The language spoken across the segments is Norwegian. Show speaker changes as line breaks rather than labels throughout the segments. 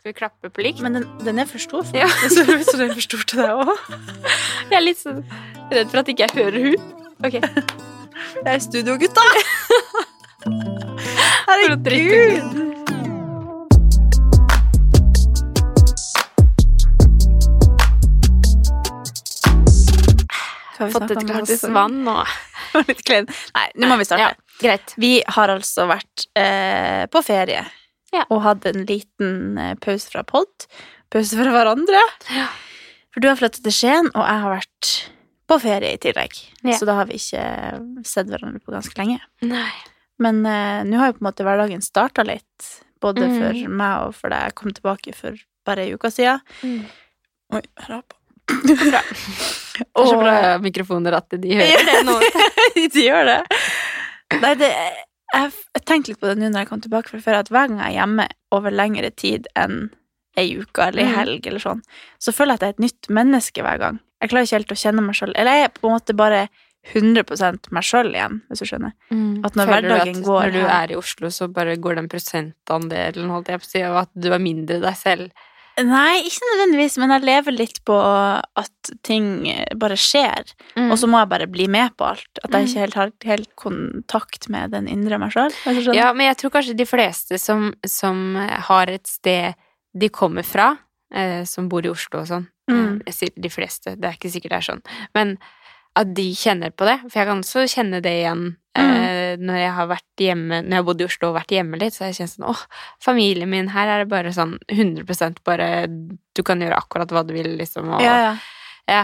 Skal vi klappe på likt?
Men den, den er for stor. for
Ja.
meg. Så, så den er for stor til deg òg?
Jeg er litt sånn redd for at ikke jeg hører hun. Ok,
Det er studiogutta!
For å drikke
Herregud! Hva har vi
Fått
snakket
et
om?
glass
Det var
vann nå.
litt- litt klein. Nei, nå må vi starte.
Ja, greit.
Vi har altså vært eh, på ferie
Ja.
og hatt en liten eh, pause fra pod, pause fra hverandre.
Ja.
For du har flyttet til Skien, og jeg har vært på ferie i tillegg.
Ja.
Så da har vi ikke sett hverandre på ganske lenge.
Nei.
Men eh, nå har jo på en måte hverdagen starta litt, både
Mm.
for meg og for deg. Jeg kom tilbake for bare ei uke siden.
Mm.
Oi, rapa.
Det er så
Og-
bra mikrofoner at de hører det nå.
de gjør det. Nei, det jeg, jeg tenkte litt på det nå når jeg kom tilbake fra ferie, at hver gang jeg er hjemme over lengre tid enn ei uke eller ei
Mm.
helg, eller sånn, så føler jeg at jeg er et nytt menneske hver gang. Jeg klarer ikke helt å kjenne meg sjøl. Eller jeg er på en måte bare 100 meg sjøl igjen, hvis du skjønner.
Mm.
At når
Føler du
hverdagen
at
går
Når du
her-
er i Oslo, så bare går den prosentandelen, holdt jeg på å si, og at du er mindre deg selv.
Nei, ikke nødvendigvis, men jeg lever litt på at ting eh, bare skjer.
Mm.
Og så må jeg bare bli med på alt. At jeg ikke helt har helt kontakt med den indre meg sjøl.
Ja, men jeg tror kanskje de fleste som, som har et sted de kommer fra, eh, som bor i Oslo og sånn
Mm.
eh, Jeg sier de fleste, det er ikke sikkert det er sånn. Men at de kjenner på det. For jeg kan også kjenne det igjen eh,
Mm.
når jeg har vært hjemme, når jeg har bodd i Oslo og vært hjemme litt. Så har jeg kjent sånn åh, familien min her er det bare sånn 100 bare Du kan gjøre akkurat hva du vil, liksom. Og,
Ja, ja.
ja.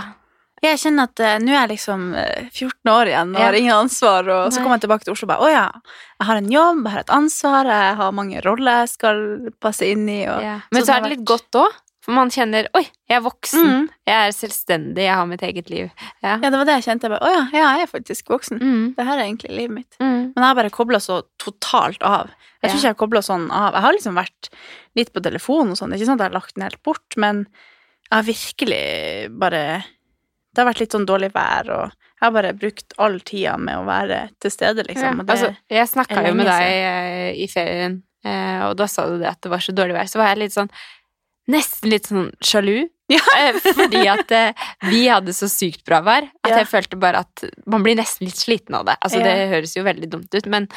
Jeg kjenner at eh, nå er jeg liksom eh, 14 år igjen og
Ja.
har ingen ansvar, og
Nei.
så kommer jeg tilbake til Oslo og bare å ja, jeg har en jobb, jeg har et ansvar, jeg har mange roller jeg skal passe inn i, og
Ja. Men så
Så det
er det
har
litt
vært-
godt òg, for man kjenner Oi, jeg er voksen.
mm.
Jeg er selvstendig. Jeg har mitt eget liv. Ja.
Ja, det var det jeg kjente. Jeg bare å ja, ja, jeg er faktisk voksen.
Mm.
Det her er egentlig livet mitt.
Mm.
Men jeg har bare kobla så totalt av. Jeg tror
Ja.
ikke jeg har kobla sånn av. Jeg har liksom vært litt på telefonen og sånn. Det er ikke sånn at jeg har lagt den helt bort, men jeg har virkelig bare Det har vært litt sånn dårlig vær, og jeg har bare brukt all tida med å være til stede, liksom.
Ja,
Og det,
altså, jeg snakka
er
jo med
lenge
deg eh, i ferien, eh, og da sa du det at det var så dårlig vær. Så var jeg litt sånn Nesten litt sånn sjalu.
Ja.
eh, Fordi at eh, vi hadde så sykt bra vær at
Ja.
jeg følte bare at man blir nesten litt sliten av det. Altså,
Ja.
det høres jo veldig dumt ut, men,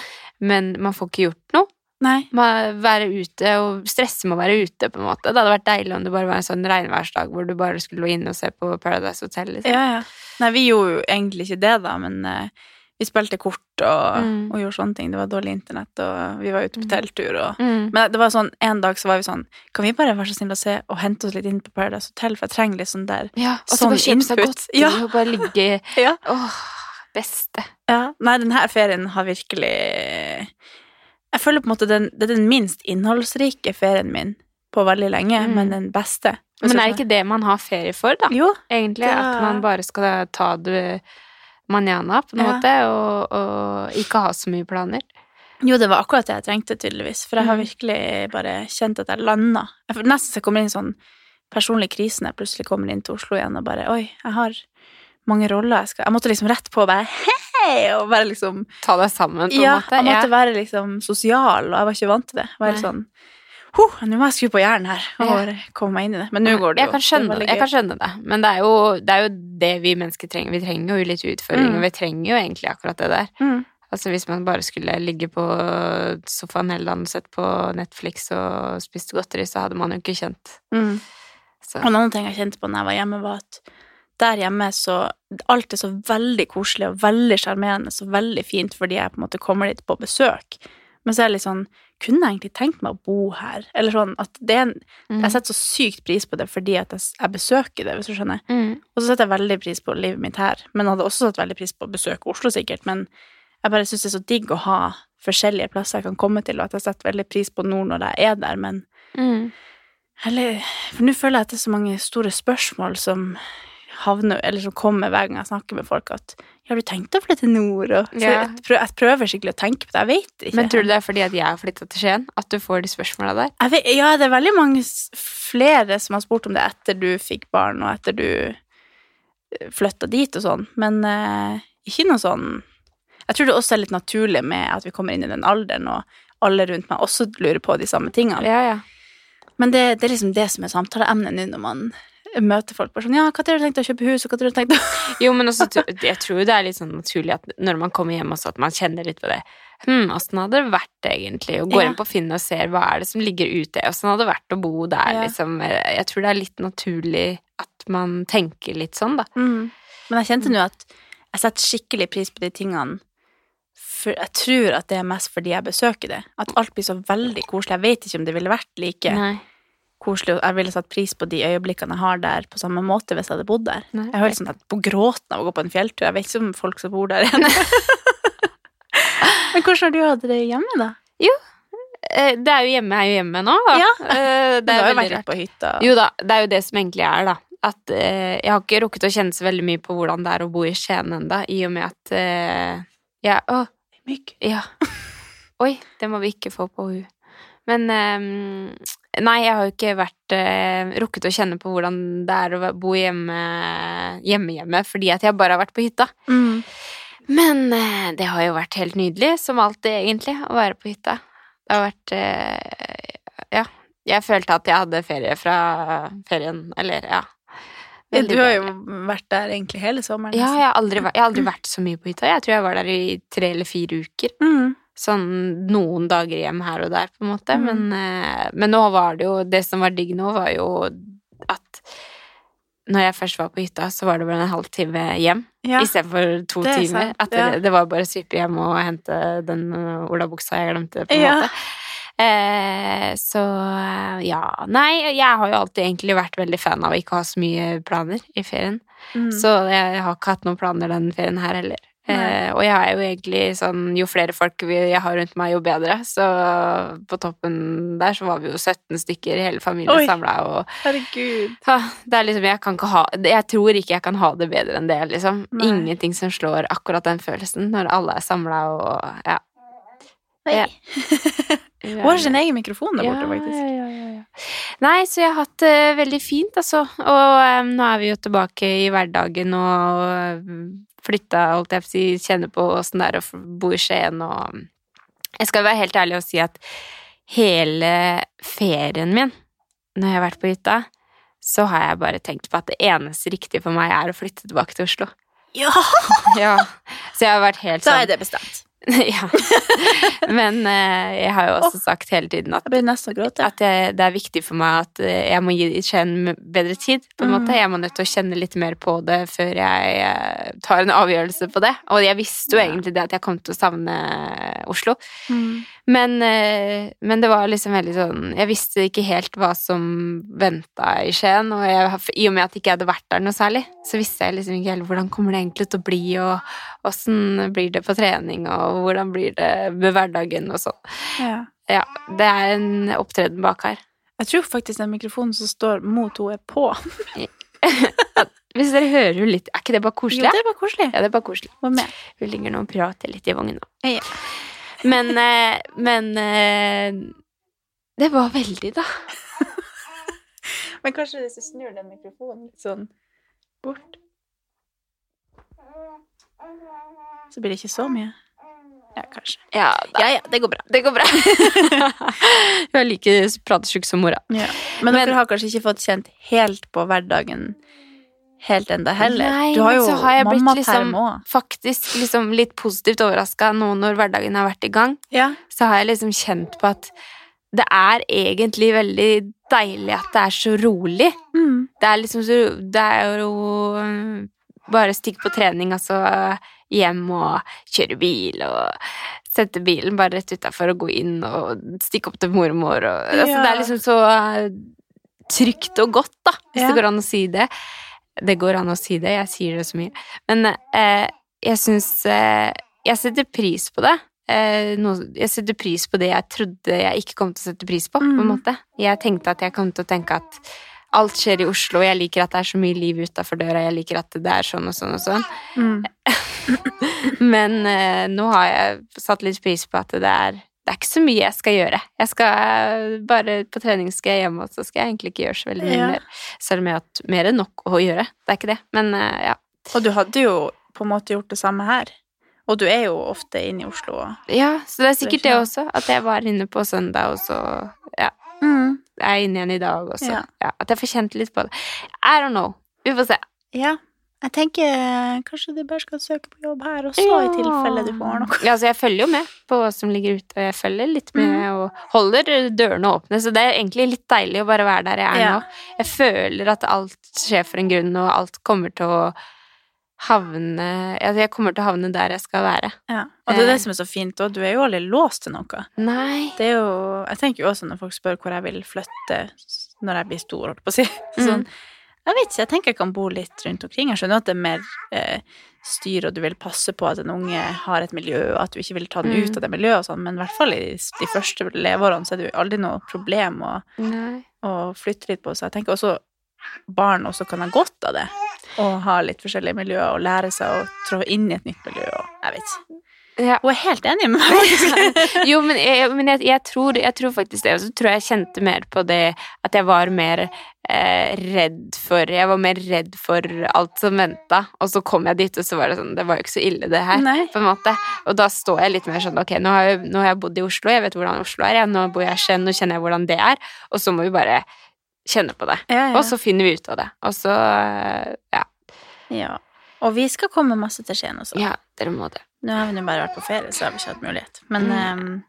men man får ikke gjort noe.
nei.
Man være ute og stresse med å være ute, på en måte. Det hadde vært deilig om det bare var en sånn regnværsdag hvor du bare skulle inn og se på Paradise Hotel. Liksom.
Ja, ja. Nei, vi gjorde jo egentlig ikke det, da, men eh, vi spilte kort og,
Mm.
og gjorde sånne ting. Det var dårlig internett, og vi var ute på
Mm.
telttur og
Mm.
Men det var sånn, en dag så var vi sånn Kan vi bare være så snille å se og hente oss litt inn på Paradise Hotel, for jeg trenger litt sånn der
Ja, og så
Sånn
bare kjøpe seg
input.
godteri
Ja.
og bare ligge
Ja.
Åh, beste.
Ja, nei, denne ferien har virkelig Jeg føler på en måte den, det er den minst innholdsrike ferien min på veldig lenge,
Mm.
men den beste. Hvis
Men
du
er
skjønner.
ikke det man har ferie for, da?
Jo.
Egentlig
det
at
er-
man bare skal ta det manana, på en
Ja.
måte, og, og ikke ha så mye planer.
jo, det var akkurat det jeg trengte, tydeligvis. For jeg har
Mm.
virkelig bare kjent at jeg landa. Jeg får- Nesten så jeg kommer inn i en sånn personlig krise når jeg plutselig kommer inn til Oslo igjen og bare Oi, jeg har mange roller jeg skal Jeg måtte liksom rett på og bare Hei! Og bare liksom
Ta deg sammen, på en
Ja,
måte.
jeg måtte være liksom sosial, og jeg var ikke vant til det. Jeg var helt
Nei.
sånn Huh, nå må jeg skru på hjernen her og
Ja.
bare komme meg inn i det. Men nå går det
jeg
jo.
kan, skjønne,
det
det
er veldig
jeg
gøy.
kan skjønne det, men det er, jo, det er jo det vi mennesker trenger. Vi trenger jo litt utfordring,
Mm.
og vi trenger jo egentlig akkurat det der.
Mm.
Altså Hvis man bare skulle ligge på sofaen hele dagen og sett på Netflix og spist godteri, så hadde man jo ikke kjent
Mm.
så.
Og en annen ting jeg kjente på når jeg var hjemme, var at der hjemme så Alt er så veldig koselig og veldig sjarmerende og veldig fint fordi jeg på en måte kommer dit på besøk. Men så er det litt sånn Kunne jeg egentlig tenkt meg å bo her? Eller sånn at det er en,
Mm.
Jeg setter så sykt pris på det fordi at jeg, s- jeg besøker det, hvis du skjønner.
Mm.
Og så setter jeg veldig pris på livet mitt her, men hadde også satt veldig pris på å besøke Oslo, sikkert. Men jeg bare syns det er så digg å ha forskjellige plasser jeg kan komme til, og at jeg setter veldig pris på nord når jeg er der, men
Mm.
eller, For nå føler jeg at det er så mange store spørsmål som havner, eller som kommer hver gang jeg snakker med folk, at ja, har du tenkt å flytte til nord? Og så
Ja.
jeg, prøver, jeg prøver skikkelig å tenke på det, jeg vet ikke.
Men tror du det er fordi at jeg har flytta til Skien? At du får de spørsmåla der?
jeg vet, ja, det er veldig mange s- flere som har spurt om det etter du fikk barn, og etter du flytta dit og sånn, men eh, ikke noe sånn Jeg tror det også er litt naturlig med at vi kommer inn i den alderen, og alle rundt meg også lurer på de samme tingene.
Ja, ja.
Men det, det er liksom det som er samtaleemnet nå når man møter folk. Bare sånn, ja, hva har du tenkt å kjøpe hus, og hva har du tenkt å
Jo, men også, tro- jeg tror jo det er litt sånn naturlig at når man kommer hjem også, at man kjenner litt på det. Hm, åssen hadde det vært egentlig? Og går
Ja.
inn på Finn og ser hva er det som ligger ute. Åssen hadde det vært å bo der,
Ja.
liksom. Jeg tror det er litt naturlig at man tenker litt sånn, da.
Mm. Men jeg kjente nå at jeg setter skikkelig pris på de tingene. For jeg tror at det er mest fordi jeg besøker det. At alt blir så veldig koselig. Jeg vet ikke om det ville vært like
Nei.
koselig. og Jeg ville satt pris på de øyeblikkene jeg har der, på samme måte hvis jeg hadde bodd der.
Nei.
Jeg hører sånn at på gråten av å gå på en fjelltur. Jeg vet ikke om folk som bor der igjen. Men hvordan har du hatt det hjemme, da?
Eh, Det er jo hjemme er jo hjemme nå, da.
Ja.
Eh,
Du
Det
har
er veldig
jo vært litt
rart.
på hytta.
Jo da, det er jo det som egentlig er, da. At eh, jeg har ikke rukket å kjenne så veldig mye på hvordan det er å bo i Skien ennå, i og med at eh, jeg Å,
Mygg.
Ja. Oi, det må vi ikke få på hun. Men eh, Nei, jeg har jo ikke vært eh, rukket å kjenne på hvordan det er å væ- bo hjemme hjemme-hjemme, fordi at jeg bare har vært på hytta.
Mm.
Men eh, det har jo vært helt nydelig, som alltid, egentlig, å være på hytta. Det har vært eh, Ja. Jeg følte at jeg hadde ferie fra ferien, eller ja. Veldig
Du har
bra.
jo vært der liksom. egentlig hele sommeren.
Ja,
nesten.
jeg har, aldri, vært- jeg har aldri vært så mye på hytta. Jeg tror jeg var der i tre eller fire uker
Mm.
sånn noen dager hjem her og der, på en måte.
Mm.
Men, eh, men nå var det jo Det som var digg nå, var jo at når jeg først var på hytta, så var det bare en halvtime hjem
Ja.
istedenfor to
det er
timer.
sant,
At det,
ja.
det var bare å svippe hjem og hente den eh, olabuksa jeg glemte, på en
Ja.
måte. Eh, så eh, ja Nei, jeg har jo alltid egentlig vært veldig fan av å ikke ha så mye planer i ferien.
Mm.
Så jeg har ikke hatt noen planer den ferien her heller.
Nei.
Eh, og jeg er jo egentlig sånn Jo flere folk vi, jeg har rundt meg, jo bedre. Så på toppen der så var vi jo 17 stykker, hele
Oi.
familien samla, og
Herregud.
ah, Det er liksom Jeg kan ikke ha Jeg tror ikke jeg kan ha det bedre enn det, liksom.
Nei.
Ingenting som slår akkurat den følelsen når alle er samla og Ja. Ja.
Hun har sin egen mikrofon der
Ja,
borte, faktisk.
Ja, ja, ja, ja. Nei, så jeg har hatt det veldig fint, altså. Og em, nå er vi jo tilbake i hverdagen og em, flytta, holdt jeg på å si, kjenne på åssen det er å f- bo i Skien og Jeg skal være helt ærlig og si at hele ferien min, når jeg har vært på hytta, så har jeg bare tenkt på at det eneste riktige for meg er å flytte tilbake til Oslo.
Ja!
Ja. Så jeg har vært helt
Da er
sånn
det bestemt.
Ja. Men eh, jeg har jo også sagt hele tiden at
Jeg begynner nesten å gråte.
at jeg, det er viktig for meg at eh, jeg må gi Skien bedre tid, på en
Mm.
måte. Jeg må nødt til å kjenne litt mer på det før jeg eh, tar en avgjørelse på det. Og jeg visste jo
Ja.
egentlig det at jeg kom til å savne eh, Oslo.
Mm.
Men, eh, men det var liksom veldig sånn Jeg visste ikke helt hva som venta i Skien. Og jeg, har- i og med at jeg ikke hadde vært der noe særlig, så visste jeg liksom ikke helt hvordan kommer det egentlig til å bli, og åssen blir det på trening, og hvordan blir det med hverdagen og sånn.
Ja.
Ja, det er en opptreden bak her.
Jeg tror faktisk den mikrofonen som står mot henne, er på.
Hvis dere hører jo litt, er ikke det bare
Jo,
koselig?
det
ja?
var koselig.
Ja, det er bare koselig.
Var med.
Hun ligger nå og prater litt i vogna.
Ja.
Men, eh, men eh, Det var veldig, da.
Men kanskje hvis du snur den mikrofonen litt sånn bort Så blir det ikke så mye. Ja, kanskje.
Ja, da.
Ja, ja, det går bra.
Det går bra. Hun er like pratesjuk som mora.
Men,
Men-
dere har kanskje ikke fått kjent helt på hverdagen helt enda heller.
Nei,
du har
men
jo
så har jeg blitt liksom-
mammaperm òg.
Faktisk liksom litt positivt overraska nå når hverdagen har vært i gang.
Ja.
så har jeg liksom kjent på at det er egentlig veldig deilig at det er så rolig.
Mm.
Det er liksom så Det er jo øh, bare stikk på trening, altså øh, hjem og kjøre bil og sette bilen bare rett utafor og gå inn og stikke opp til mormor og altså,
Ja.
Det er liksom så øh, trygt og godt, da, hvis
Ja.
det går an å si det. Det går an å si det, jeg sier det så mye. Men eh, jeg syns eh, Jeg setter pris på det. Eh, noe, jeg setter pris på det jeg trodde jeg ikke kom til å sette pris på. på en
Mm.
måte. Jeg tenkte at jeg kom til å tenke at alt skjer i Oslo, og jeg liker at det er så mye liv utafor døra, jeg liker at det er sånn og sånn og sånn.
Mm.
Men eh, nå har jeg satt litt pris på at det er det er ikke så mye jeg skal gjøre. Jeg skal Bare på trening skal jeg hjem, og så skal jeg egentlig ikke gjøre så veldig mye
Ja.
mer. Selv om jeg har hatt mer enn nok å gjøre. Det er ikke det. Men eh, ja.
Og du hadde jo på en måte gjort det samme her. Og du er jo ofte inne i Oslo. Og...
ja. Så det er sikkert det
Ja. Mm.
også, at jeg var inne på søndag, og så er inne igjen i dag også.
Ja.
Ja. at jeg får kjent litt på det. I don't know. Vi får se.
Ja. Jeg tenker eh, kanskje du bare skal søke på jobb her også, i
Ja.
tilfelle du får noe.
Ja, altså jeg følger jo med på hva som ligger ute, og jeg følger litt med
Mhm.
og holder dørene åpne, så det er egentlig litt deilig å bare være der jeg er
Ja.
nå. Jeg føler at alt skjer for en grunn, og alt kommer til å havne altså Jeg kommer til å havne der jeg skal være.
Ja. Og det er
Eh.
det som er så fint òg. Du er jo aldri låst til noe.
Nei.
Det er jo Jeg tenker jo også når folk spør hvor jeg vil flytte s- når jeg blir stor, holdt på å si. Sånn,
Mm.
jeg vet ikke, jeg tenker jeg kan bo litt rundt omkring. Jeg skjønner at det er mer eh, styr, og du vil passe på at en unge har et miljø, og at du ikke vil ta den
Mm.
ut av det miljøet og sånn, men i hvert fall i s- de første leveårene så er det jo aldri noe problem å,
Nei.
å flytte litt på seg. Jeg tenker også barn også kan ha godt av det. Og ha litt forskjellige miljøer, og lære seg å trå inn i et nytt miljø. Og, jeg vet ikke.
Ja.
Hun er helt enig med meg, faktisk.
Jo, men, jeg, men jeg, jeg, tror, jeg tror faktisk det. Og så tror jeg jeg kjente mer på det at jeg var mer eh, redd for Jeg var mer redd for alt som venta, og så kom jeg dit, og så var det sånn Det var jo ikke så ille, det her.
Nei.
På en måte. Og da står jeg litt mer sånn Ok, nå har jeg, nå har jeg bodd i Oslo, jeg vet hvordan Oslo er, jeg, nå bor jeg i Skien, nå kjenner jeg hvordan det er, og så må vi bare kjenne på det.
Ja, ja.
Og så finner vi ut av det. Og så eh, Ja.
Ja. Og vi skal komme masse til Skien også.
ja dere må det.
Nå har vi nå bare vært på ferie, så har vi ikke hatt mulighet. Men,
Mm.
ehm,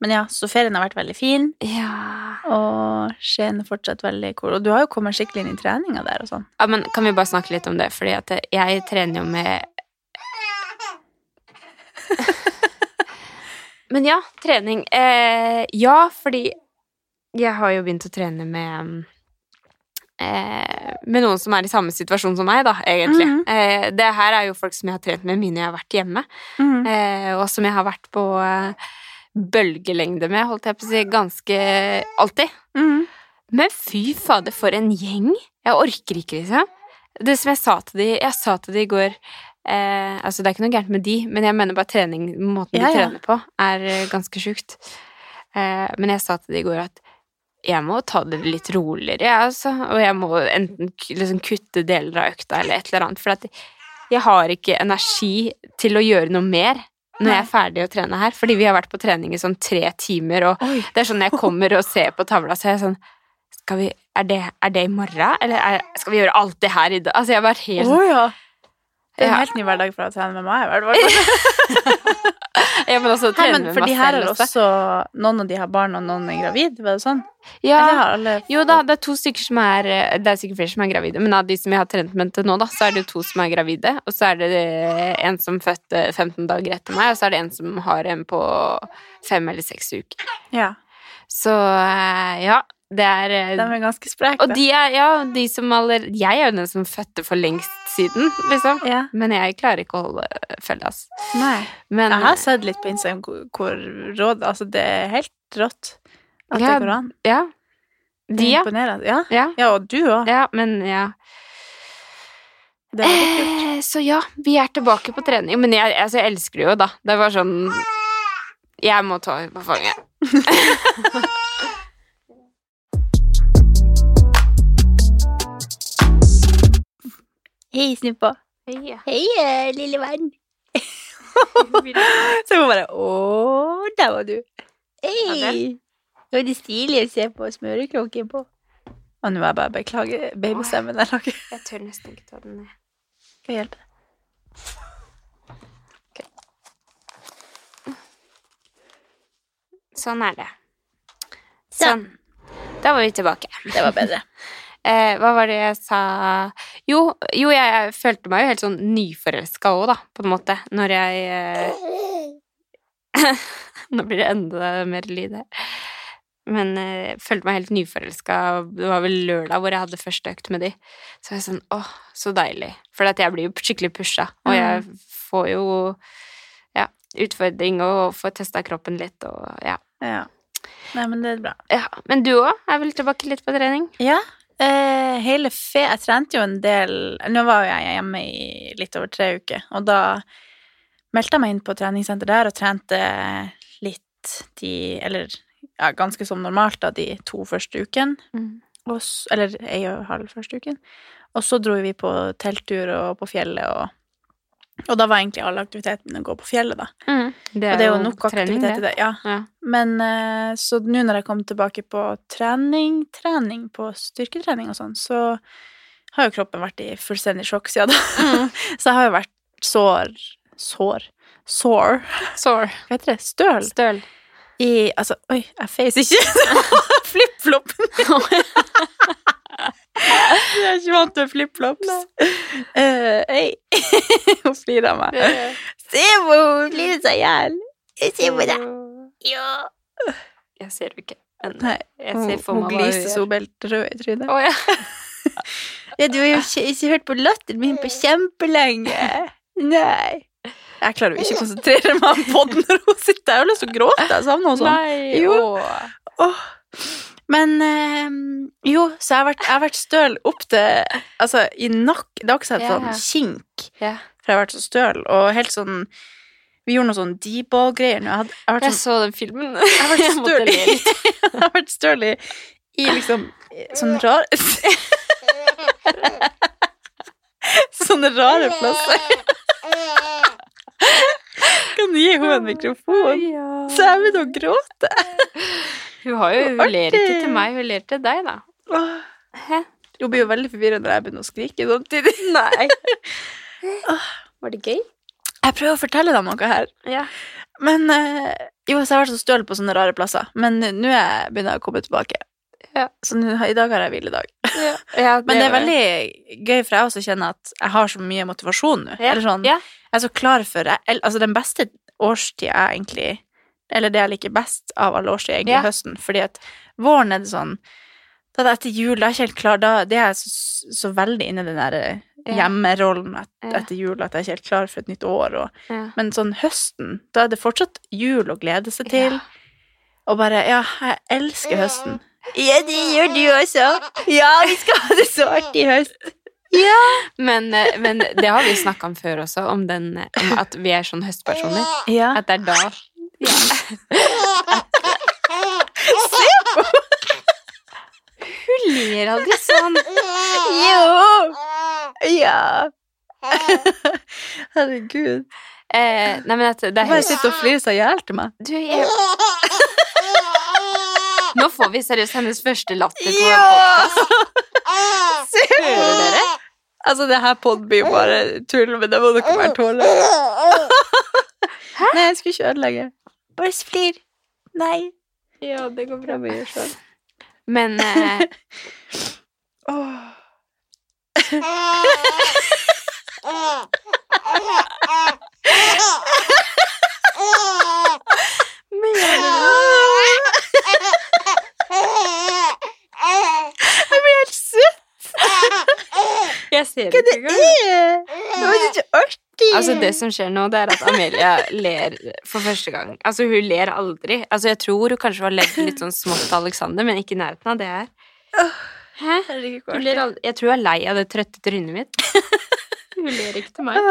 men ja, så ferien har vært veldig fin,
Ja.
og Skien er fortsatt veldig cool. Og du har jo kommet skikkelig inn i treninga der og sånn.
Ja, men kan vi bare snakke litt om det? Fordi at jeg trener jo med Men ja, trening. Eh, ja, fordi jeg har jo begynt å trene med eh, Med noen som er i samme situasjon som meg, da, egentlig.
Mhm.
eh, det her er jo folk som jeg har trent med mine jeg har vært hjemme.
Mm.
Eh, og som jeg har vært på eh, bølgelengde med, holdt jeg på å si, ganske alltid.
Mhm.
Men fy fader, for en gjeng! Jeg orker ikke, liksom. Det som jeg sa til de, jeg sa til de i går eh, Altså, det er ikke noe gærent med de, men jeg mener bare trening, måten
Ja,
de
ja.
trener på, er eh, ganske sjukt. Eh, men jeg sa til de i går at jeg må ta det litt roligere, jeg, altså. Og jeg må enten k- liksom kutte deler av økta eller et eller annet. For at jeg har ikke energi til å gjøre noe mer når jeg er ferdig å trene her. Fordi vi har vært på trening i sånn tre timer, og
Oi.
det er sånn når jeg kommer og ser på tavla, så er jeg sånn skal vi, er, det, er det i morgen? Eller er, skal vi gjøre alt det her i dag? Altså, jeg var helt
Å ja. Det er en
Ja.
helt ny hverdag for å trene med meg, i hvert fall.
Jeg vil også
Hei,
trene
men
med
for de
meg
her
selv
er
også.
også Noen av de har barn, og noen er gravid, var det sånn?
Ja.
Eller har alle
Jo da, det er to stykker som er Det er sikkert flere som er gravide, men av de som jeg har trent med til nå, da, så er det jo to som er gravide, og så er det en som fødte 15 dager etter meg, og så er det en som har en på fem eller seks uker.
Ja.
Så eh, ja, det er eh,
De er ganske spreke.
Og de er Ja, de som aller Jeg er jo den som fødte for lengst siden, liksom.
ja.
Men jeg klarer ikke å holde følge, ass.
Nei.
Men
Jeg har sett litt på Instagram hvor- hvor råd Altså, det er helt rått at
Ja,
det går an.
Ja.
Det
De,
er
ja.
imponerende. Ja.
Ja,
ja, og du òg.
ja men ja.
Det er veldig kult.
Eh, Så ja, vi er tilbake på trening. Men jeg, altså, jeg elsker det jo, da. Det var sånn Jeg må ta henne på fanget.
Hei, Snippa. Hei, eh, lille venn. Så hun bare Å, der var du.
Hei.
Nå er det stilig å se på smøreklokken på. Og nå må jeg bare beklage babystemmen jeg lager.
Jeg tør nesten ikke ta den ned.
Skal jeg hjelpe deg?
Sånn er det. Sånn. Da var vi tilbake.
Det var bedre.
Eh, hva var det jeg sa Jo, jo jeg følte meg jo helt sånn nyforelska òg, da, på en måte, når jeg eh... Nå blir det enda mer lyd her. Men eh, jeg følte meg helt nyforelska. Det var vel lørdag hvor jeg hadde første økt med de. Så var jeg sånn åh, så deilig. For at jeg blir jo skikkelig pusha, og jeg
Mm.
får jo ja, utfordring og får testa kroppen litt og ja.
Ja. Nei, men det er bra.
ja. Men du òg er vel tilbake litt på trening?
Ja. Eh, hele fe Jeg trente jo en del Nå var jo jeg hjemme i litt over tre uker, og da meldte jeg meg inn på treningssenter der og trente litt de Eller ja, ganske som normalt, da, de to første ukene. Og, s- eller ei og en halv første uken. Og så dro vi på telttur og på fjellet og Og da var egentlig all aktiviteten min å gå på fjellet, da.
Mm. Det
Og det er jo nok aktivitet i det. Ja.
Ja.
Men eh, så nå når jeg kom tilbake på trening, trening på styrketrening og sånn, så har jo kroppen vært i fullstendig sjokk siden da.
Mm.
Så jeg har jo vært sår Sår? Sår?
Sår.
Hva heter det? Støl?
Støl.
I Altså, oi, jeg feis ikke! Flip-floppen! jeg er ikke vant til flip-flops. Eh, Hei! Hun flirer av meg. Se på hun flirer seg i hjel! Se på deg! Ja.
Jeg ser det ikke. Men
Nei,
jeg ser for
hun
meg hva hun
gliser
gjør.
så helt rød i trynet.
Å ja.
Ja, du har jo ikke, ikke hørt på latteren min på kjempelenge. Nei. Jeg klarer jo ikke å konsentrere meg på den når hun sitter der. Jeg har lyst til å gråte. Jeg savner henne sånn.
Nei,
Jo.
å.
Åh. Men eh, jo, så jeg har vært, jeg har vært støl opp til Altså, i nakk Det har ikke sett
Ja.
sånn kink,
Ja.
for jeg har vært så støl, og helt sånn Vi gjorde noe sånn D-ball-greier nå. Jeg, hadde- jeg har vært
Jeg
sånn
så den filmen.
Jeg har vært
måtte
støl
le litt.
i Jeg har vært støl i, i liksom sånn rar Sånne rare plasser. Kan du gi henne en mikrofon? Så jeg begynner å gråte.
Hun, har jo, hun
Artig.
ler ikke til meg, hun ler til deg, da.
Åh.
Hæ?
Hun blir jo veldig forvirret når jeg begynner å skrike samtidig.
Nei. Var det gøy?
Jeg prøver å fortelle deg noe her.
Ja.
Men eh, jo, så jeg har vært så støl på sånne rare plasser. Men nå er jeg begynner jeg å komme tilbake.
Ja.
Så nå, i dag har jeg hviledag.
ja.
Men det, er veldig gøy, for jeg også kjenner at jeg har så mye motivasjon nå.
Ja,
Eller sånn,
ja.
Jeg er så klar for jeg, el- Altså, den beste årstida er egentlig Eller det jeg liker best av alle årstider, er egentlig
Ja.
høsten. Fordi at våren er det sånn Da det er etter jul, da er jeg ikke helt klar. Da det er jeg så, så veldig inne i den der eh,
Ja.
hjemmerollen et,
Ja.
etter jul at jeg er ikke helt klar for et nytt år. Og
Ja.
men sånn høsten, da er det fortsatt jul å glede seg til.
Ja.
Og bare Ja, jeg elsker høsten. Ja, det gjør du også. Ja, vi skal ha det så artig i høst.
Men, eh, men det har vi snakka om før også, om, den, eh, om at vi er sånn høstpersoner.
Ja.
At det er da Hun ler aldri sånn.
Jo! Ja. Herregud.
Eh, nei, men at det er
Bare sånn,
høst.
sitter og flirer seg i hjel til meg.
Du, jeg... Nå får vi seriøst hennes første latter på
Se på
Hører dere?
Altså, det her podden blir jo bare tull, men det må dere bare tåle. Nei, jeg skulle ikke ødelegge. Bare flir. Nei.
Ja, det går
Jeg må gjøre sånn.
Men eh,
Åh. Jeg blir helt søt.
jeg ser
Hva
det
det
ikke engang.
er? Det var ikke artig.
Altså, det som skjer nå, det er at Amelia ler for første gang. Altså, hun ler aldri. Altså, jeg tror hun kanskje har ledd litt sånn smått av Alexander, men ikke i nærheten av det her. Hæ?
Herregud,
Hun ler aldri. Jeg tror hun er lei av det trøtte trynet mitt. Hun ler ikke til meg.
Åh,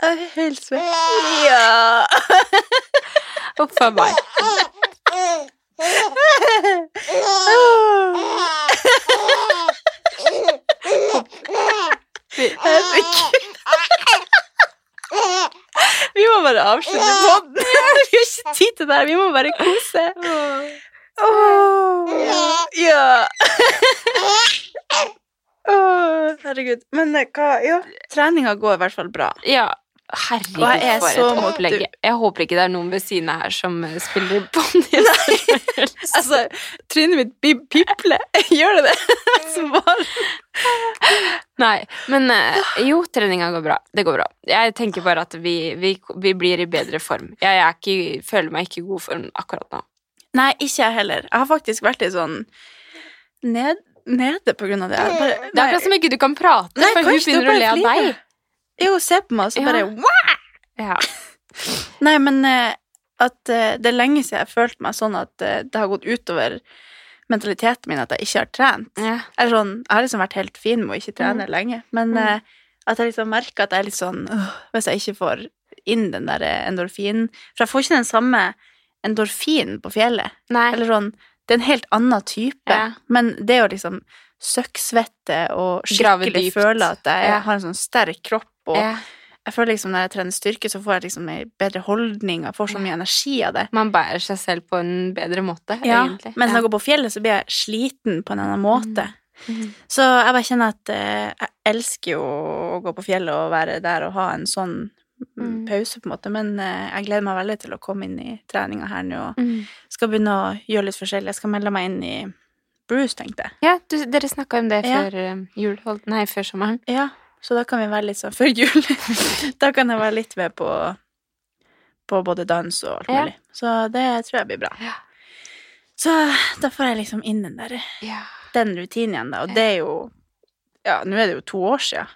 Ah, Jeg er helt svett. Ja.
Huff a meg.
Åh. Vi må bare avslutte podden. Vi har ikke tid til det her. Vi må bare kose. Åh. Ja. Åh, Ah, herregud. Men eh, hva Ja, treninga går i hvert fall bra.
Ja.
Og jeg er
Herregud, for
så
et opplegg.
motiv-
Jeg håper ikke det er noen ved siden av her som eh, spiller bånd.
Altså, trynet mitt pi- pipler. Gjør det det? Så bare
Nei, men eh, jo, treninga går bra. Det går bra. Jeg tenker bare at vi, vi, vi blir i bedre form. Jeg er ikke, føler meg ikke i god form akkurat nå.
Nei, ikke jeg heller. Jeg har faktisk vært litt sånn ned, nede på grunn av det. Jeg Bare,
Det er akkurat som ikke du kan prate,
Nei,
for hun
kanskje du
begynner å le
bare
av
flirer.
deg.
Jo, se på meg, så
Ja.
bare wow!
Ja.
Nei, men eh, at eh, det er lenge siden jeg har følt meg sånn at eh, det har gått utover mentaliteten min at jeg ikke har trent.
Ja.
Eller sånn, jeg har liksom vært helt fin med å ikke trene lenge, men
Mm.
eh, at jeg liksom merker at jeg er litt sånn «Åh, Hvis jeg ikke får inn den der eh, endorfinen For jeg får ikke den samme endorfinen på fjellet.
Nei.
Eller sånn, det er en helt annen type.
Ja.
Men det å liksom søkksvette og
Grave
skikkelig
dypt.
føle at jeg
Ja.
har en sånn sterk kropp og
Ja.
Jeg føler liksom når jeg trener styrke, så får jeg liksom ei bedre holdning, og jeg får så mye energi av det.
Man bærer seg selv på en bedre måte,
Ja,
egentlig.
mens når
Ja.
jeg går på fjellet, så blir jeg sliten på en annen måte.
Mhm.
Så jeg bare kjenner at eh, jeg elsker jo å gå på fjellet og være der og ha en sånn mm,
Mm.
pause, på en måte. Men eh, jeg gleder meg veldig til å komme inn i treninga her nå og
Mm.
skal begynne å gjøre litt forskjellig. Jeg skal melde meg inn i Bruce, tenkte jeg.
Ja, du, dere snakka om det
Ja.
før eh, jul, hold- nei, før sommeren.
Ja, så da kan vi være litt sånn før jul. da kan jeg være litt med på, på både dans og alt
Ja.
mulig. Så det tror jeg blir bra.
Ja.
Så da får jeg liksom inn den der
Ja.
den rutinen igjen, da. Og det er jo Ja, nå er det jo to år sia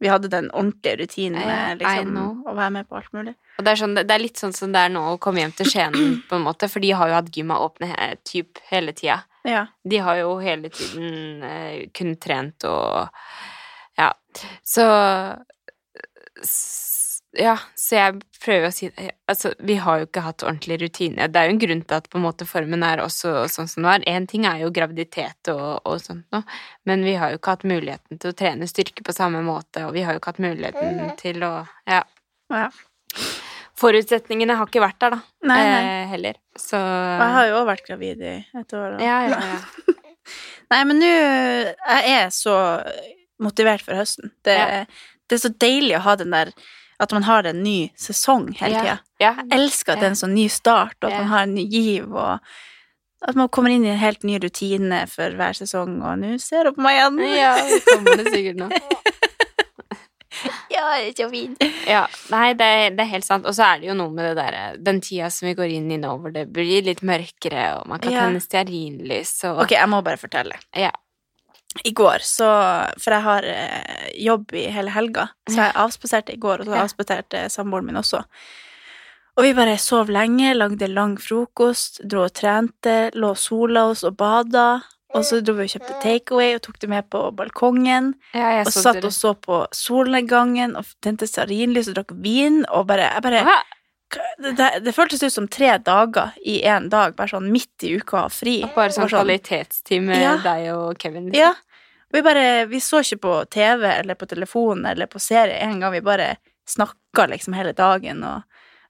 vi hadde den ordentlige rutinen
Ja,
med
I
liksom,
know.
å være med på alt mulig.
Og det er, sånn, det er litt sånn som det er nå å komme hjem til Skien, på en måte, for de har jo hatt gymma åpne he typ hele tida.
Ja.
De har jo hele tiden eh, kun trent og Ja. Så s- Ja, så jeg prøver å si det Altså, vi har jo ikke hatt ordentlig rutine. Det er jo en grunn til at på en måte formen er også sånn som den var. Én ting er jo graviditet og, og sånt noe, men vi har jo ikke hatt muligheten til å trene styrke på samme måte, og vi har jo ikke hatt
Mhm.
muligheten til å Ja.
ja.
Forutsetningene har ikke vært der, da.
Nei, nei.
Eh, heller. Så
Og jeg har jo også vært gravid i et år. Og...
Ja, ja, ja.
Nei, men nå Jeg er så motivert for høsten. Det,
Ja.
det er så deilig å ha den der At man har en ny sesong hele
Ja.
tida.
ja.
Jeg elsker at det er en sånn ny start, og at
Ja.
man har en ny giv, og at man kommer inn i en helt ny rutine for hver sesong, og nå ser du på meg igjen.
Ja, det kommer det sikkert nå.
Ja, det er så fint.
Ja, nei, det, er- det er helt sant. Og så er det jo noe med det derre Den tida som vi går inn i nå, hvor det blir litt mørkere, og man kan
Ja.
tenne stearinlys og
Ok, jeg må bare fortelle.
Ja.
I går, så For jeg har eh, jobb i hele helga, så jeg avspaserte i går, og så
Ja.
avspaserte samboeren min også. Og vi bare sov lenge, lagde lang frokost, dro og trente, lå og sola oss og bada. Og så dro vi og kjøpte takeaway og tok det med på balkongen.
Ja, jeg
Og
så
satt
dere-
og så på solnedgangen og tente stearinlys og drakk vin. Og bare, jeg bare
Hva?
det, det, det føltes ut som tre dager i én dag, bare sånn midt i uka og fri.
Bare sånn
Det var
kvalitetstid med
Ja.
deg og Kevin. liksom.
Ja. Vi bare Vi så ikke på TV eller på telefon eller på serie en gang. Vi bare snakka liksom hele dagen, og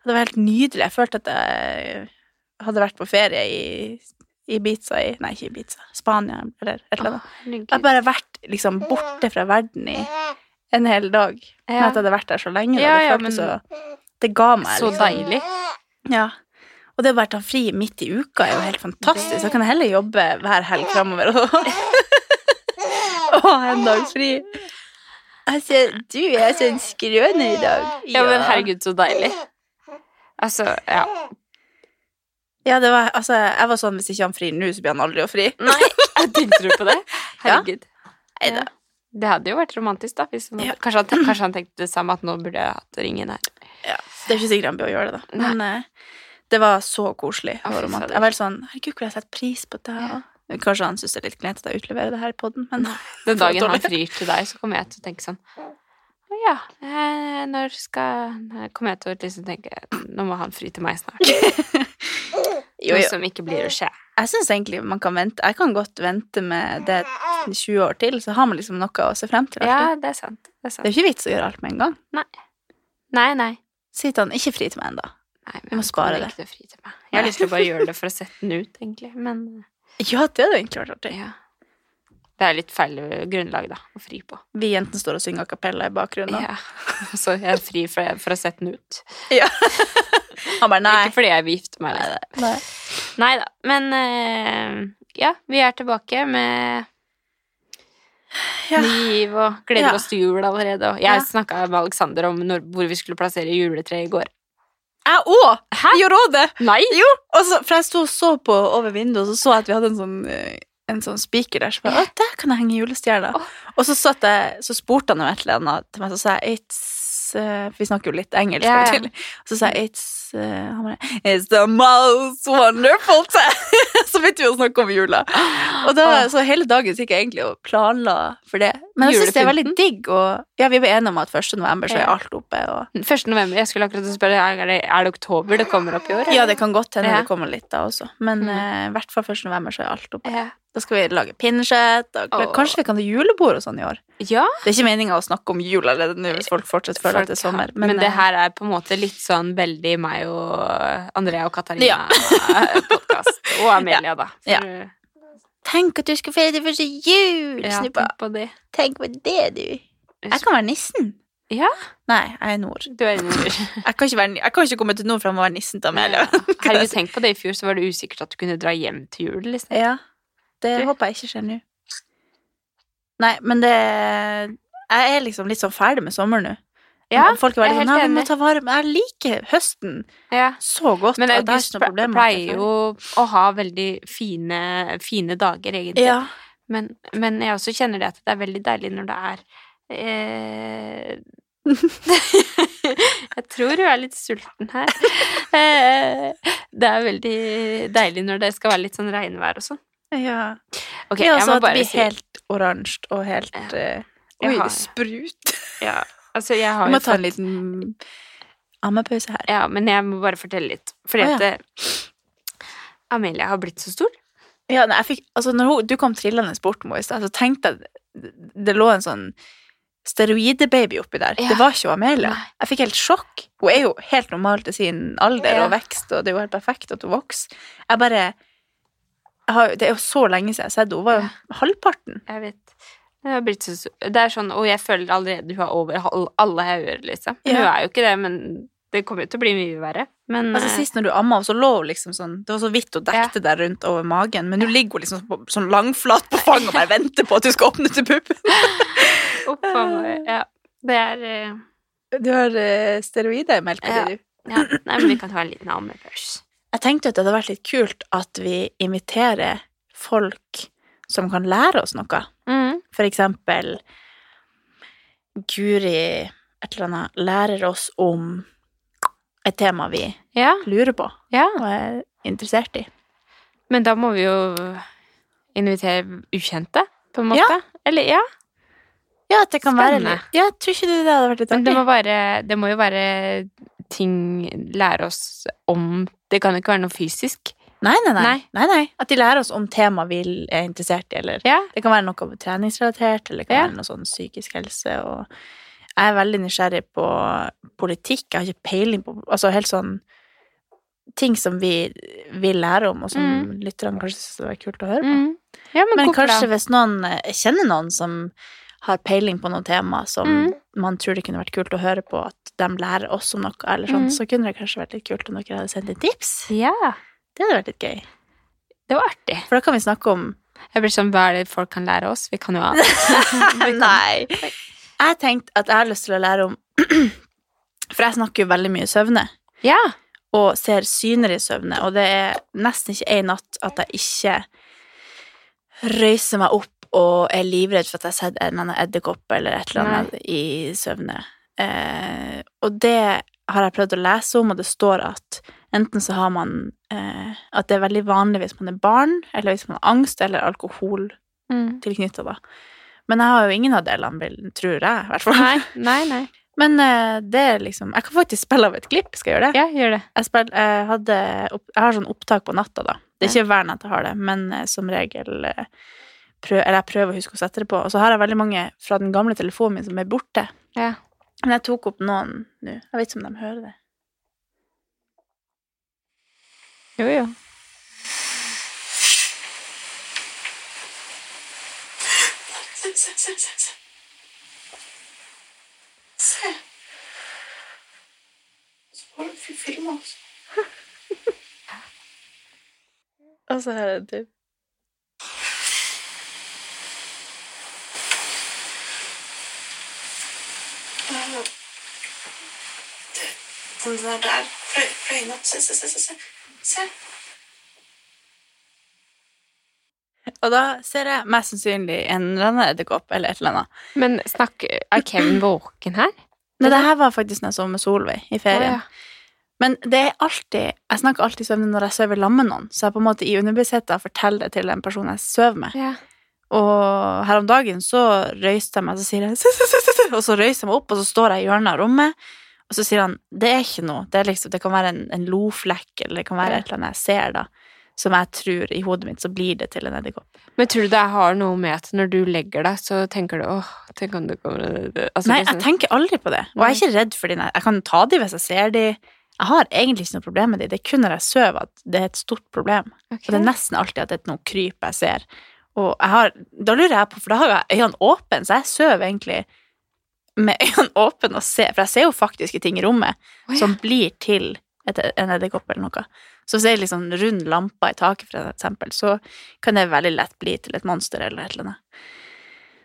det var helt nydelig. Jeg følte at jeg hadde vært på ferie i Ibiza i Nei, ikke Ibiza. Spania eller et eller
Å,
annet.
herregud.
Jeg har bare vært liksom borte fra verden i en hel dag. Men
Ja.
at jeg hadde vært der så lenge, da,
Ja,
det
ja,
føltes
men-
så Det ga meg
Så
liksom
deilig.
ja. Og det å bare ta fri midt i uka er jo helt fantastisk. Da kan jeg heller jobbe hver helg framover og og ha en dags fri. Altså, du er så en skrøner i dag.
Ja, men herregud, så deilig. Altså, ja.
Ja, det var, altså, jeg var sånn hvis ikke han frir nå, så blir han aldri å fri.
Nei, tenkte du på det? Herregud.
Neida.
Ja. Det hadde jo vært romantisk, da. Hvis han hadde,
Ja.
kanskje, han, tenk- kanskje han tenkte det samme, at nå burde jeg hatt ringen her.
Det er ikke sikkert han blir å gjøre det, da. Men eh, det var så koselig.
Å, fy
og romantisk.
fader.
Jeg var helt sånn Herregud, hvor jeg setter pris på det.
Ja.
og- Kanskje han syns det er litt kleint at jeg utleverer det her i poden, men
Den dagen han
dårlig.
frir til deg, så kommer jeg til å tenke sånn Å ja, eh, når skal Nå Kommer jeg til å liksom tenke Nå må han fri til meg snart.
jo,
Noe
jo.
som ikke blir å skje.
Jeg syns egentlig man kan vente. Jeg kan godt vente med det 20 år til, så har man liksom noe å se frem til. alltid.
Ja, det er sant. Det er
Det er
sant.
jo ikke vits å gjøre alt med en gang.
Nei, nei.
Si til han ikke fri til meg ennå.
nei
Vi må spare
det. Til å fri til meg. Jeg har lyst til å bare gjøre det for å sette den ut, egentlig. Men eh,
Ja, det hadde egentlig vært artig.
ja. Det er litt feil grunnlag, da, å fri på.
Vi jentene står og synger a cappella i bakgrunnen.
Ja. Så jeg er fri for, for å sette den ut.
og Han bare nei.
Ikke fordi jeg vil gifte meg. Liksom.
nei.
Nei da. Men eh, ja, vi er tilbake med
Ja.
ny giv og gleder
Ja.
oss til jul allerede. Og jeg
Ja.
snakka med Alexander om når, hvor vi skulle plassere juletreet i går.
Jeg òg!
Hæ?
Gjorde òg det!
Nei!
Jo! Og så, for jeg sto og så på over vinduet, og så så jeg at vi hadde en sånn, eh, en sånn spiker der. Så bare, «Å, der kan jeg henge julestjerner.
Åh.
Og så, satt jeg, så spurte han om et eller annet til meg, så sa jeg it's eh, for vi snakker jo litt engelsk.
Ja, ja.
av og til. Og så sa jeg it's eh, han bare, It's the most wonderful time! så begynte vi å snakke om jula. Og da,
Åh.
så hele dagen gikk jeg egentlig og planla for det. Ah. Men jeg syns det er veldig
Julepynten?
digg. Og, ja, vi ble enige om at 1. november så er
Ja.
alt oppe. Og,
1. november. Jeg skulle akkurat spørre er det, er det oktober det kommer opp i år.
ja, det kan godt hende
Ja.
det kommer litt da også. Men
Mm.
eh, i hvert fall 1. november så er alt oppe.
Ja.
Da skal vi lage pinnekjøtt. og-
Åh.
Kanskje vi kan ha julebord og sånn i år.
Ja,
Det er ikke meninga å snakke om jul allerede nå hvis folk fortsatt føler at det er
folk har-
sommer.
Men,
eh,
det her er på en måte litt sånn veldig meg og Andrea og
Ja.
Katarina-podkast. Og Amelia, da. For,
Ja.
eh,
Tenk at du skal feire din første jul,
ja,
snuppa.
tenk på det.
Tenk på det, du. Jeg kan være nissen.
Ja.
Nei, jeg er nord.
Du er innover.
Jeg kan ikke, være, jeg kan ikke komme til nord fram og være nissen til Amelia.
Herregud, tenk på det. I fjor så var det usikkert at du kunne dra hjem til jul, liksom.
Ja, det
Du?
håper jeg ikke skjer nå. Nei, men det Jeg er liksom litt sånn ferdig med sommeren nå.
Ja,
Folk er
jeg
veldig
er helt
sånn Nei, vi må
enig.
ta vare på Jeg liker høsten
Ja.
så godt.
Men
at jeg har
august
ikke noe problem med at det
pleier
er
jo å ha veldig fine, fine dager, egentlig.
ferdig. Ja.
Men, men jeg også kjenner det at det er veldig deilig når det er eh... Jeg tror du er litt sulten her. Eh, det er veldig deilig når det skal være litt sånn regnvær og sånn.
ja.
Ok,
ja,
jeg
så
må
at det
bare
blir
si
helt oransje og helt eh,
Jeg
Oi,
har-
det sprut.
ja, altså, jeg
Vi
har
må
jo
ta
fått
en liten ammepause her.
Ja, men jeg må bare fortelle litt. Fordi
Å, ja.
at eh, Amelia har blitt så stor.
Ja, nei, jeg fikk, altså når hun, du kom trillende bort Mo, i stad, så tenkte jeg det- det lå en sånn steroidebaby oppi der.
Ja.
Det var ikke hun Amelia.
Nei.
Jeg fikk helt sjokk. Hun er jo helt normal til sin alder
Ja.
og vekst, og det er jo helt perfekt at hun vokser. Jeg bare jeg har, jo- Det er jo så lenge siden jeg har sett henne. Hun var jo halvparten.
Jeg vet. Hun har blitt så stor. Det er sånn, og jeg føler allerede hun er over hal- alle hauger, liksom. Men
Ja.
Hun er jo ikke det, men det kommer jo til å bli mye verre. Men
Altså
eh,
Sist når du amma henne, så lå hun liksom sånn Det var så vidt hun dekte der rundt over magen, men nå ligger hun liksom på, sånn langflat på fanget og bare venter på at du skal åpne til puppen.
opp for meg, ja. Det er eh,
Du har eh, steroider i melka
Ja.
di, du.
ja. Nei, men vi kan ha en liten ammepause.
Jeg tenkte at det hadde vært litt kult at vi inviterer folk som kan lære oss noe.
Mm.
For eksempel Guri et eller annet lærer oss om et tema vi
Ja,
lurer på
ja.
og er interessert i.
Men da må vi jo invitere ukjente, på en måte.
Ja.
Eller ja.
Ja, at det kan være
Spennende.
litt Ja, jeg tror ikke det hadde vært litt
Men det
artig.
må, være, det må jo være ting lære oss om Det kan jo ikke være noe fysisk.
Nei nei, nei,
Nei.
nei, nei. At de lærer oss om tema vi er interessert i, eller
Ja.
Det kan være noe treningsrelatert, eller det kan
Ja.
være noe sånn psykisk helse. Og jeg er veldig nysgjerrig på politikk. Jeg har ikke peiling på Altså helt sånn ting som vi vil lære om, og som
Mm.
lytterne kanskje syns det er kult å høre på.
Mm. ja men,
Men
hvorfor da?
kanskje hvis noen eh, kjenner noen som har peiling på noe tema som
Mm.
man tror det kunne vært kult å høre på, at de lærer oss om noe, eller sånn,
Mm.
så kunne det kanskje vært litt kult om dere hadde sendt inn tips.
Ja,
Det hadde vært litt gøy.
det var artig.
For da kan vi snakke om
Jeg blir sånn, hva er det folk kan lære oss? Vi kan jo ha Vi kan-
Nei. Jeg tenkte at jeg har lyst til å lære om For jeg snakker jo veldig mye søvne,
Ja,
og ser syner i søvne, og det er nesten ikke en natt at jeg ikke røyser meg opp og er livredd for at jeg har sett en eller annen edderkopp eller et eller annet i søvne. Eh, og det har jeg prøvd å lese om, og det står at enten så har man eh, At det er veldig vanlig hvis man er barn, eller hvis man har angst eller alkohol
mm.
tilknyttet da. Men jeg har jo ingen av delene, vil- tror jeg, i hvert fall.
Nei, nei, nei.
Men eh, det er liksom Jeg kan faktisk spille av et klipp, skal jeg gjøre det?
Ja, gjør det.
Jeg, spill, jeg, hadde, opp, jeg har sånn opptak på natta, da. Det er ikke hver natt jeg har det, men eh, som regel eh, prøv, Eller jeg prøver å huske å sette det på. Og så har jeg veldig mange fra den gamle telefonen min som er borte.
Ja.
Men jeg tok opp noen nå. Jeg vet ikke om de hører det.
Jo, jo.
Se, se, se, se, se. Se. Så har du fi- filma oss.
Og så hører jeg det.
Eh, det- Den der der. Fløy- Fløyen opp. Se, se, se, se, se. Se.
Og da ser jeg mest sannsynlig en eller annen edderkopp eller et eller annet.
Men snakk, er Kevin våken her?
Nei, det her var faktisk når jeg sov med Solveig i ferien. Men det er alltid, jeg snakker alltid søvn når jeg sover sammen med noen, så jeg på en måte i underbevisstheten forteller det til en person jeg sover med.
Ja.
Og her om dagen så røyste jeg meg, så sier jeg «Sus, sus, sus, sus», og så røyser jeg meg opp, og så står jeg i hjørnet av rommet, og så sier han, det er ikke noe, det, er liksom, det kan være en, en loflekk, eller det kan være
Ja.
et eller annet jeg ser da. som jeg tror i hodet mitt, så blir det til en edderkopp.
Men tror du det har noe med at når du legger deg, så tenker du åh, tenk om det kommer altså,
Nei,
det er
jeg
sånn-
tenker aldri på det. Og jeg er ikke redd for de. nei. Jeg kan ta de hvis jeg ser de. Jeg har egentlig ikke noe problem med de. Det er kun når jeg sover at det er et stort problem.
Ok.
Og det er nesten alltid at det er noe kryp jeg ser. Og jeg har, da lurer jeg på, for da har jeg øynene åpne, så jeg sover egentlig med øynene åpne og ser, for jeg ser jo faktiske ting i rommet
Å, ja.
som blir til et, en edderkopp eller noe. Så hvis det er liksom rund lampe i taket, for eksempel, så kan det veldig lett bli til et monster eller et eller annet.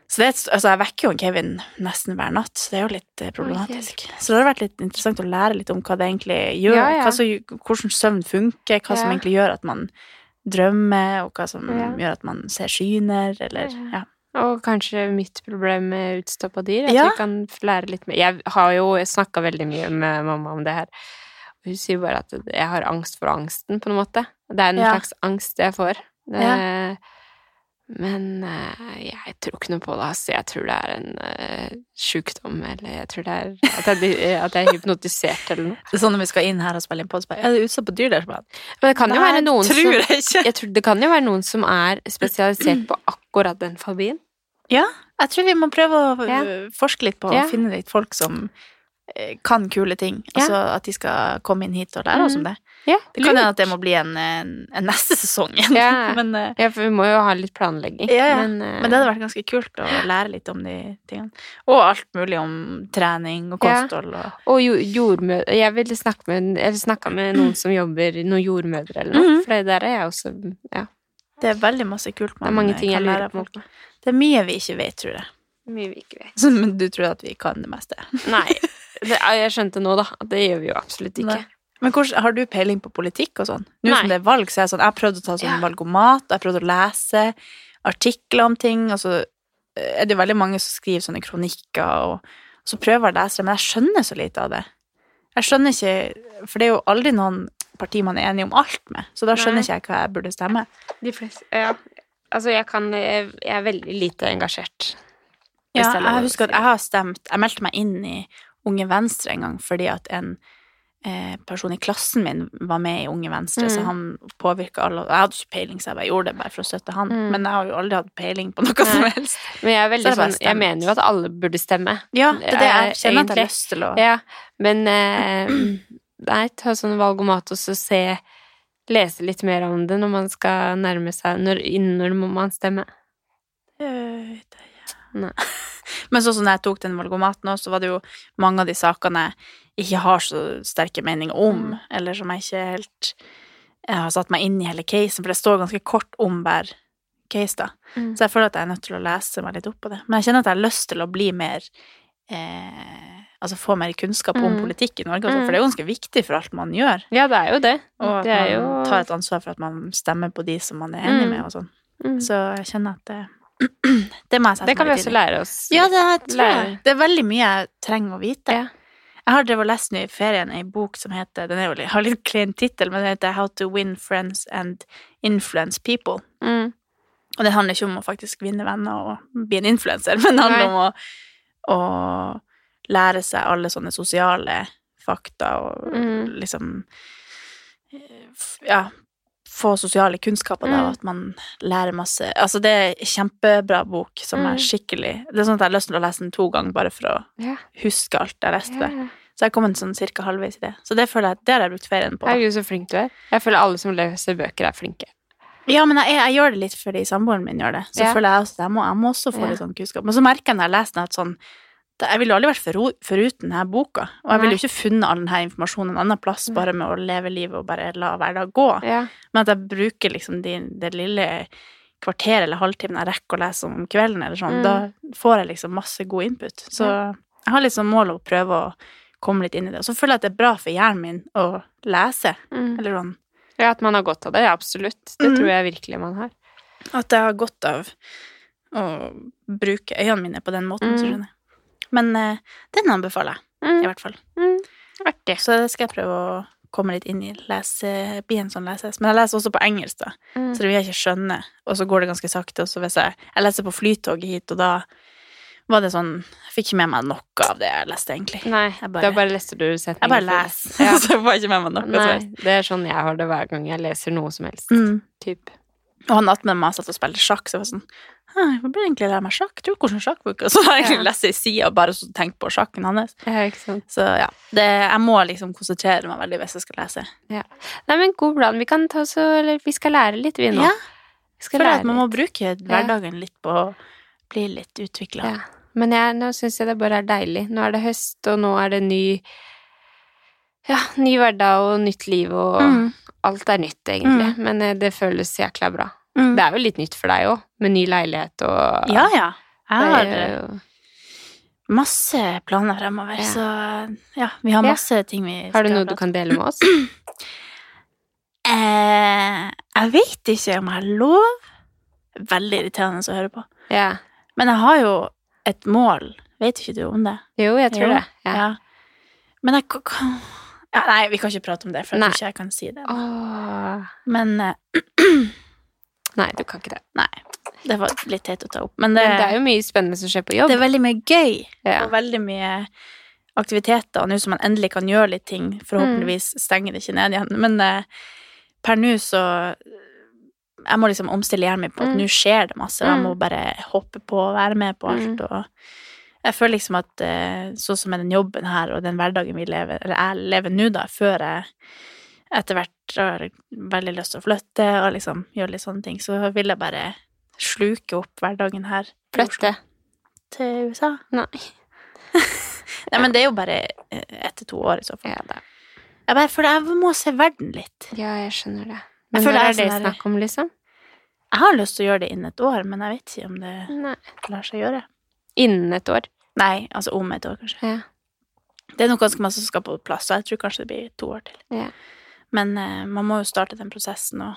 Så det er, et- altså jeg vekker jo Kevin nesten hver natt, så det er jo litt eh, problematisk. Så det har vært litt interessant å lære litt om hva det egentlig gjør,
Ja, ja.
Hva som, hvordan søvn funker, hva som
Ja.
egentlig gjør at man drømmer, og hva som
Ja.
gjør at man ser skyner, eller
Ja.
ja.
Og kanskje mitt problem med utstoppa dyr, at
Ja.
vi kan lære litt mer Jeg har jo snakka veldig mye med mamma om det her. Hun sier bare at jeg har angst for angsten, på en måte. Det er en
Ja.
slags angst jeg får. Det,
Ja.
Men eh, jeg tror ikke noe på det, altså. Jeg tror det er en eh, sjukdom, eller jeg tror det er at jeg, blir- eh, at jeg er hypnotisert eller noe.
Det er sånn når vi skal inn her og spille inn podd, så bare, er det utsatt på dyr der? Så bare,
Men det kan jo være noen
tror
som
jeg ikke.
jeg tror Det kan jo være noen som er spesialisert på akkurat den fobien.
Jeg tror vi må prøve å
Ja.
øh, forske litt på
Ja.
å finne litt folk som øh, kan kule ting.
Ja.
Altså at de skal komme inn hit og lære oss om det.
Ja,
Det kan hende
lurt.
at det må bli en, en, en neste sesong igjen.
Ja.
Men, øh,
Ja, for vi må jo ha litt planlegging.
Ja, ja.
Men, eh,
men det hadde vært ganske kult å lære litt om de tingene. Og alt mulig om trening og
Ja.
kosthold og
Og jo, jordmødre Jeg ville snakke med, eller snakket med noen som jobber Noen jordmødre eller noe.
Mm. Mhm.
For det der er jeg også Ja.
Det er veldig masse kult
Det
man
er mange
øh,
ting jeg
kan
lurer
lære av
på.
folk. Det er mye vi ikke vet, tror jeg.
Mye vi ikke vet.
Så, men du tror at vi kan det meste.
Nei. Det, ja, jeg skjønte nå, da. at Det gjør vi jo absolutt ikke.
Nei. Men hvordan, har du peiling på politikk og sånn? Nå
Nei.
som det er valg, så er jeg sånn, jeg har prøvd å ta sånn
Ja.
valgomat, jeg har prøvd å lese artikler om ting, og så eh, er det veldig mange som skriver sånne kronikker, og, og så prøver jeg å lese det, men jeg skjønner så lite av det. Jeg skjønner ikke, for det er jo aldri noen parti man er enig om alt med, så da skjønner
Nei.
ikke jeg hva jeg burde stemme.
De fleste Ja. Altså, jeg kan Jeg, jeg er veldig lite engasjert. Hvis
Ja,
det er lov å
jeg husker at
si.
jeg har stemt Jeg meldte meg inn i Unge Venstre en gang fordi at en eh, person i klassen min var med i Unge Venstre, så
Mm.
han påvirka alle. og Jeg hadde ikke peiling, så jeg bare gjorde det bare for å støtte han.
Mm.
Men jeg har jo aldri hatt peiling på noe
Nei.
som helst.
Men jeg er
Så
veldig
det er bare
sånn Jeg
stemt.
mener jo at alle burde stemme.
Ja, det er det jeg
Eh,
kjenner at jeg
egentlig.
har lyst til å
Ja. Men eh, Nei, ta sånn valgomat og så se Lese litt mer om det når man skal nærme seg Når, innen når må man stemme?
Øh, det-
Nei.
Men sånn som når jeg tok den valgomaten også, så var det jo mange av de sakene jeg ikke har så sterke meninger om,
Mm.
eller som jeg ikke helt jeg har satt meg inn i hele casen, for det står ganske kort om hver case, da.
Mm.
Så jeg føler at jeg er nødt til å lese meg litt opp på det. Men jeg kjenner at jeg har lyst til å bli mer eh, Altså få mer kunnskap om
Mm.
politikk i Norge, og sånn,
Mm.
for det er jo ganske viktig for alt man gjør.
Ja, det er jo det.
Og at
det er
man
jo
tar et ansvar for at man stemmer på de som man er enig
Mm.
med, og sånn.
Mm.
Så jeg kjenner at det Det må jeg sette
Det kan vi
meg litt
også
inn i.
lære oss.
Ja, det her tror jeg.
Lærer.
Det er veldig mye jeg trenger å vite.
Ja.
Jeg har drevet og lest nå i ferien ei bok som heter Den er jo litt, har litt klein tittel, men den heter How to win friends and influence people.
Mm.
Og det handler ikke om å faktisk vinne venner og bli en influenser, men det handler om å, å lære seg alle sånne sosiale fakta og
Mm.
liksom eh, f- Ja, få sosiale kunnskaper, da,
Mm.
og at man lærer masse Altså, det er en kjempebra bok som
Mm.
er skikkelig Det er sånn at jeg har lyst til å lese den to ganger bare for å
Ja.
huske alt jeg leste.
Ja.
der. Så jeg har kommet sånn cirka halvveis i det. Så det føler jeg at det har jeg brukt ferien på. Da.
Herregud, så flink du er. Jeg føler alle som leser bøker, er flinke.
Ja, men jeg, jeg gjør det litt fordi samboeren min gjør det. Så
Ja.
føler jeg også at jeg må, jeg må også få
Ja.
litt sånn kunnskap. Men så merker jeg når jeg leser den at sånn det- Jeg ville jo aldri vært forro- foruten denne boka. Og jeg ville jo ikke funnet all denne informasjonen en annen plass
Nei.
bare med å leve livet og bare la hverdag gå.
Mm. Ja.
Men at jeg bruker liksom de, det lille kvarteret eller halvtimen jeg rekker å lese om om kvelden, eller sånn,
Mm.
da får jeg liksom masse god input. Så
Ja.
jeg har liksom mål å prøve å komme litt inn i det. Og så føler jeg at det er bra for hjernen min å lese,
Mm.
eller sånn
ja, at man har godt av det. Ja, absolutt. Det
Mm.
tror jeg virkelig man har.
at jeg har godt av å bruke øynene mine på den måten.
Mm.
så skjønner jeg. Men eh, den anbefaler jeg, i
Mm.
hvert fall.
Artig.
Så det skal jeg prøve å komme litt inn i. Lese, bli en sånn leses. Men jeg leser også på engelsk, da,
Mm.
så det vil jeg ikke skjønne. Og så går det ganske sakte. Og så hvis jeg, jeg leser på flytoget hit, og da var det sånn Jeg fikk ikke med meg noe av det jeg leste, egentlig.
Nei,
Jeg bare-
da bare leste du setninger.
Jeg bare
for-
leser, så jeg får ikke med meg noe. som
Nei,
helst.
det er sånn jeg har det hver gang jeg leser noe som helst.
Mm.
Typ.
Og han attmed meg satt og spilte sjakk, så jeg var sånn «Hæ, Hvor blir det egentlig å lære meg sjakk? Jeg Tror hvordan sjakk bruker Og så har jeg egentlig
Ja.
lest ei side og bare så tenkt på sjakken hans.
Ja, ikke sant.
Så ja, det, jeg må liksom konsentrere meg veldig hvis jeg skal lese.
Nei, men god plan. Vi kan ta oss og eller, Vi skal lære litt, vi nå.
Ja,
vi skal
Føler
lære
at man må
litt.
bruke hverdagen litt på å bli litt utvikla.
Ja. Men jeg, nå syns jeg det bare er deilig. Nå er det høst, og nå er det ny Ja, ny hverdag og nytt liv, og
Mm.
alt er nytt, egentlig. Men eh, det føles jækla bra. Det er jo litt nytt for deg òg, med ny leilighet og
Ja, ja.
Det
Jeg har
er
eh,
jo-
masse planer fremover,
Ja.
så ja, vi har
Ja.
masse ting vi
Har du
skal
noe du
prate
kan dele med oss?
Eh, jeg vet ikke om jeg har lov. Veldig irriterende å høre på.
Ja.
Men jeg har jo et mål. Vet ikke du om det?
Jo, jeg tror
Jo.
det. Ja.
Men jeg k- k- ja, Nei, vi kan ikke prate om det, for jeg
Nei.
tror ikke jeg kan si det.
Åh.
Men eh,
Nei, du kan ikke det.
Nei. Det var litt teit å ta opp. Men det,
Men det er jo mye spennende som skjer på jobb.
det er veldig mye gøy.
ja.
Og veldig mye aktiviteter. Og nå som man endelig kan gjøre litt ting, forhåpentligvis stenger det ikke ned igjen. Men eh, per nå så Jeg må liksom omstille hjernen min på at
Mm.
nå skjer det masse. og Jeg
Mm.
må bare hoppe på og være med på alt. Og jeg føler liksom at eh, sånn som med den jobben her og den hverdagen vi lever, eller jeg lever nå, da, før jeg etter hvert har veldig lyst til å flytte og liksom gjøre litt sånne ting, så vil jeg bare sluke opp hverdagen her i Oslo
Flytte.
til USA.
Nei.
Nei, men det er jo bare eh, ett til to år i så fall.
Ja, da.
Jeg bare føler jeg må se verden litt.
ja, jeg skjønner det. Men
føler
hva
jeg
er det
er sånn der-
snakk om, liksom?
Jeg har lyst til å gjøre det innen et år, men jeg vet ikke om det
Nei.
lar seg gjøre.
Innen et år.
Nei, altså om et år, kanskje.
Ja.
Det er nok ganske masse som skal på plass, så jeg tror kanskje det blir to år til.
Ja.
Men eh, man må jo starte den prosessen og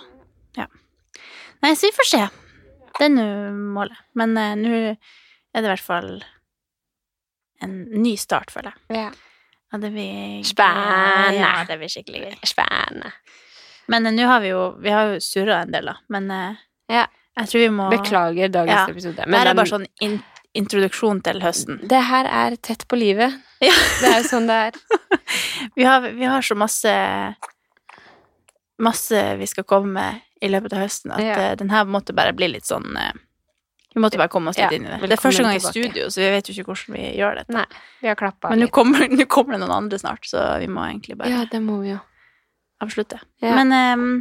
Ja. Nei, så vi får se. Det er nå målet. Men eh, nå er det i hvert fall en ny start, føler jeg.
Ja.
Og det blir
Spennende.
Ja, det blir skikkelig gøy.
Spennende.
Men eh, nå har vi jo Vi har jo surra en del, da. Men eh,
Ja.
jeg tror vi må
Beklager dagens
Ja.
episode.
Det her
den-
er bare sånn in introduksjon til høsten.
det her er tett på livet.
Ja.
Det er jo sånn det er.
Vi har, vi har så masse Masse vi skal komme med i løpet av høsten, at
Ja.
eh, den her måtte bare bli litt sånn eh, Vi måtte bare komme oss
Ja,
litt inn i det. Det er
velkommen
første gang i
tilbake.
studio, så vi vet jo ikke hvordan vi gjør dette.
Nei. Vi har klappa
Men nå
litt.
kommer, nå kommer det noen andre snart, så vi må egentlig bare
Ja, det må vi jo.
avslutte.
Ja.
Men ehm,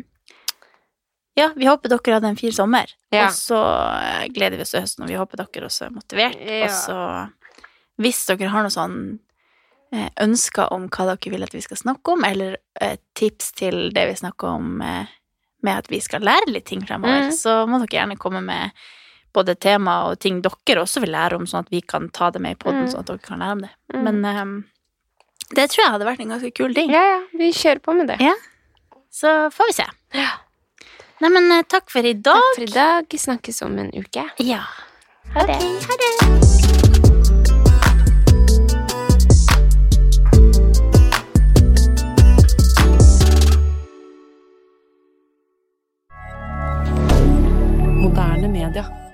ja, vi håper dere hadde en fin sommer.
Ja.
Og så eh, gleder vi oss til høsten, og vi håper dere også er motivert.
Ja.
Og så hvis dere har noen sånn eh, ønsker om hva dere vil at vi skal snakke om, eller eh, tips til det vi snakker om eh, med at vi skal lære litt ting fremover,
Mm.
så må dere gjerne komme med både tema og ting dere også vil lære om, sånn at vi kan ta det med i poden,
Mm.
sånn at dere kan lære om det.
Mm.
Men ehm, det tror jeg hadde vært en ganske kul ting.
Ja, ja. Vi kjører på med det.
Ja. Så får vi se.
Ja.
Nei, men eh, takk for i dag.
Takk for i dag. Snakkes om en uke.
Ja.
Ha det.
Ok, ha det.
Moderne media.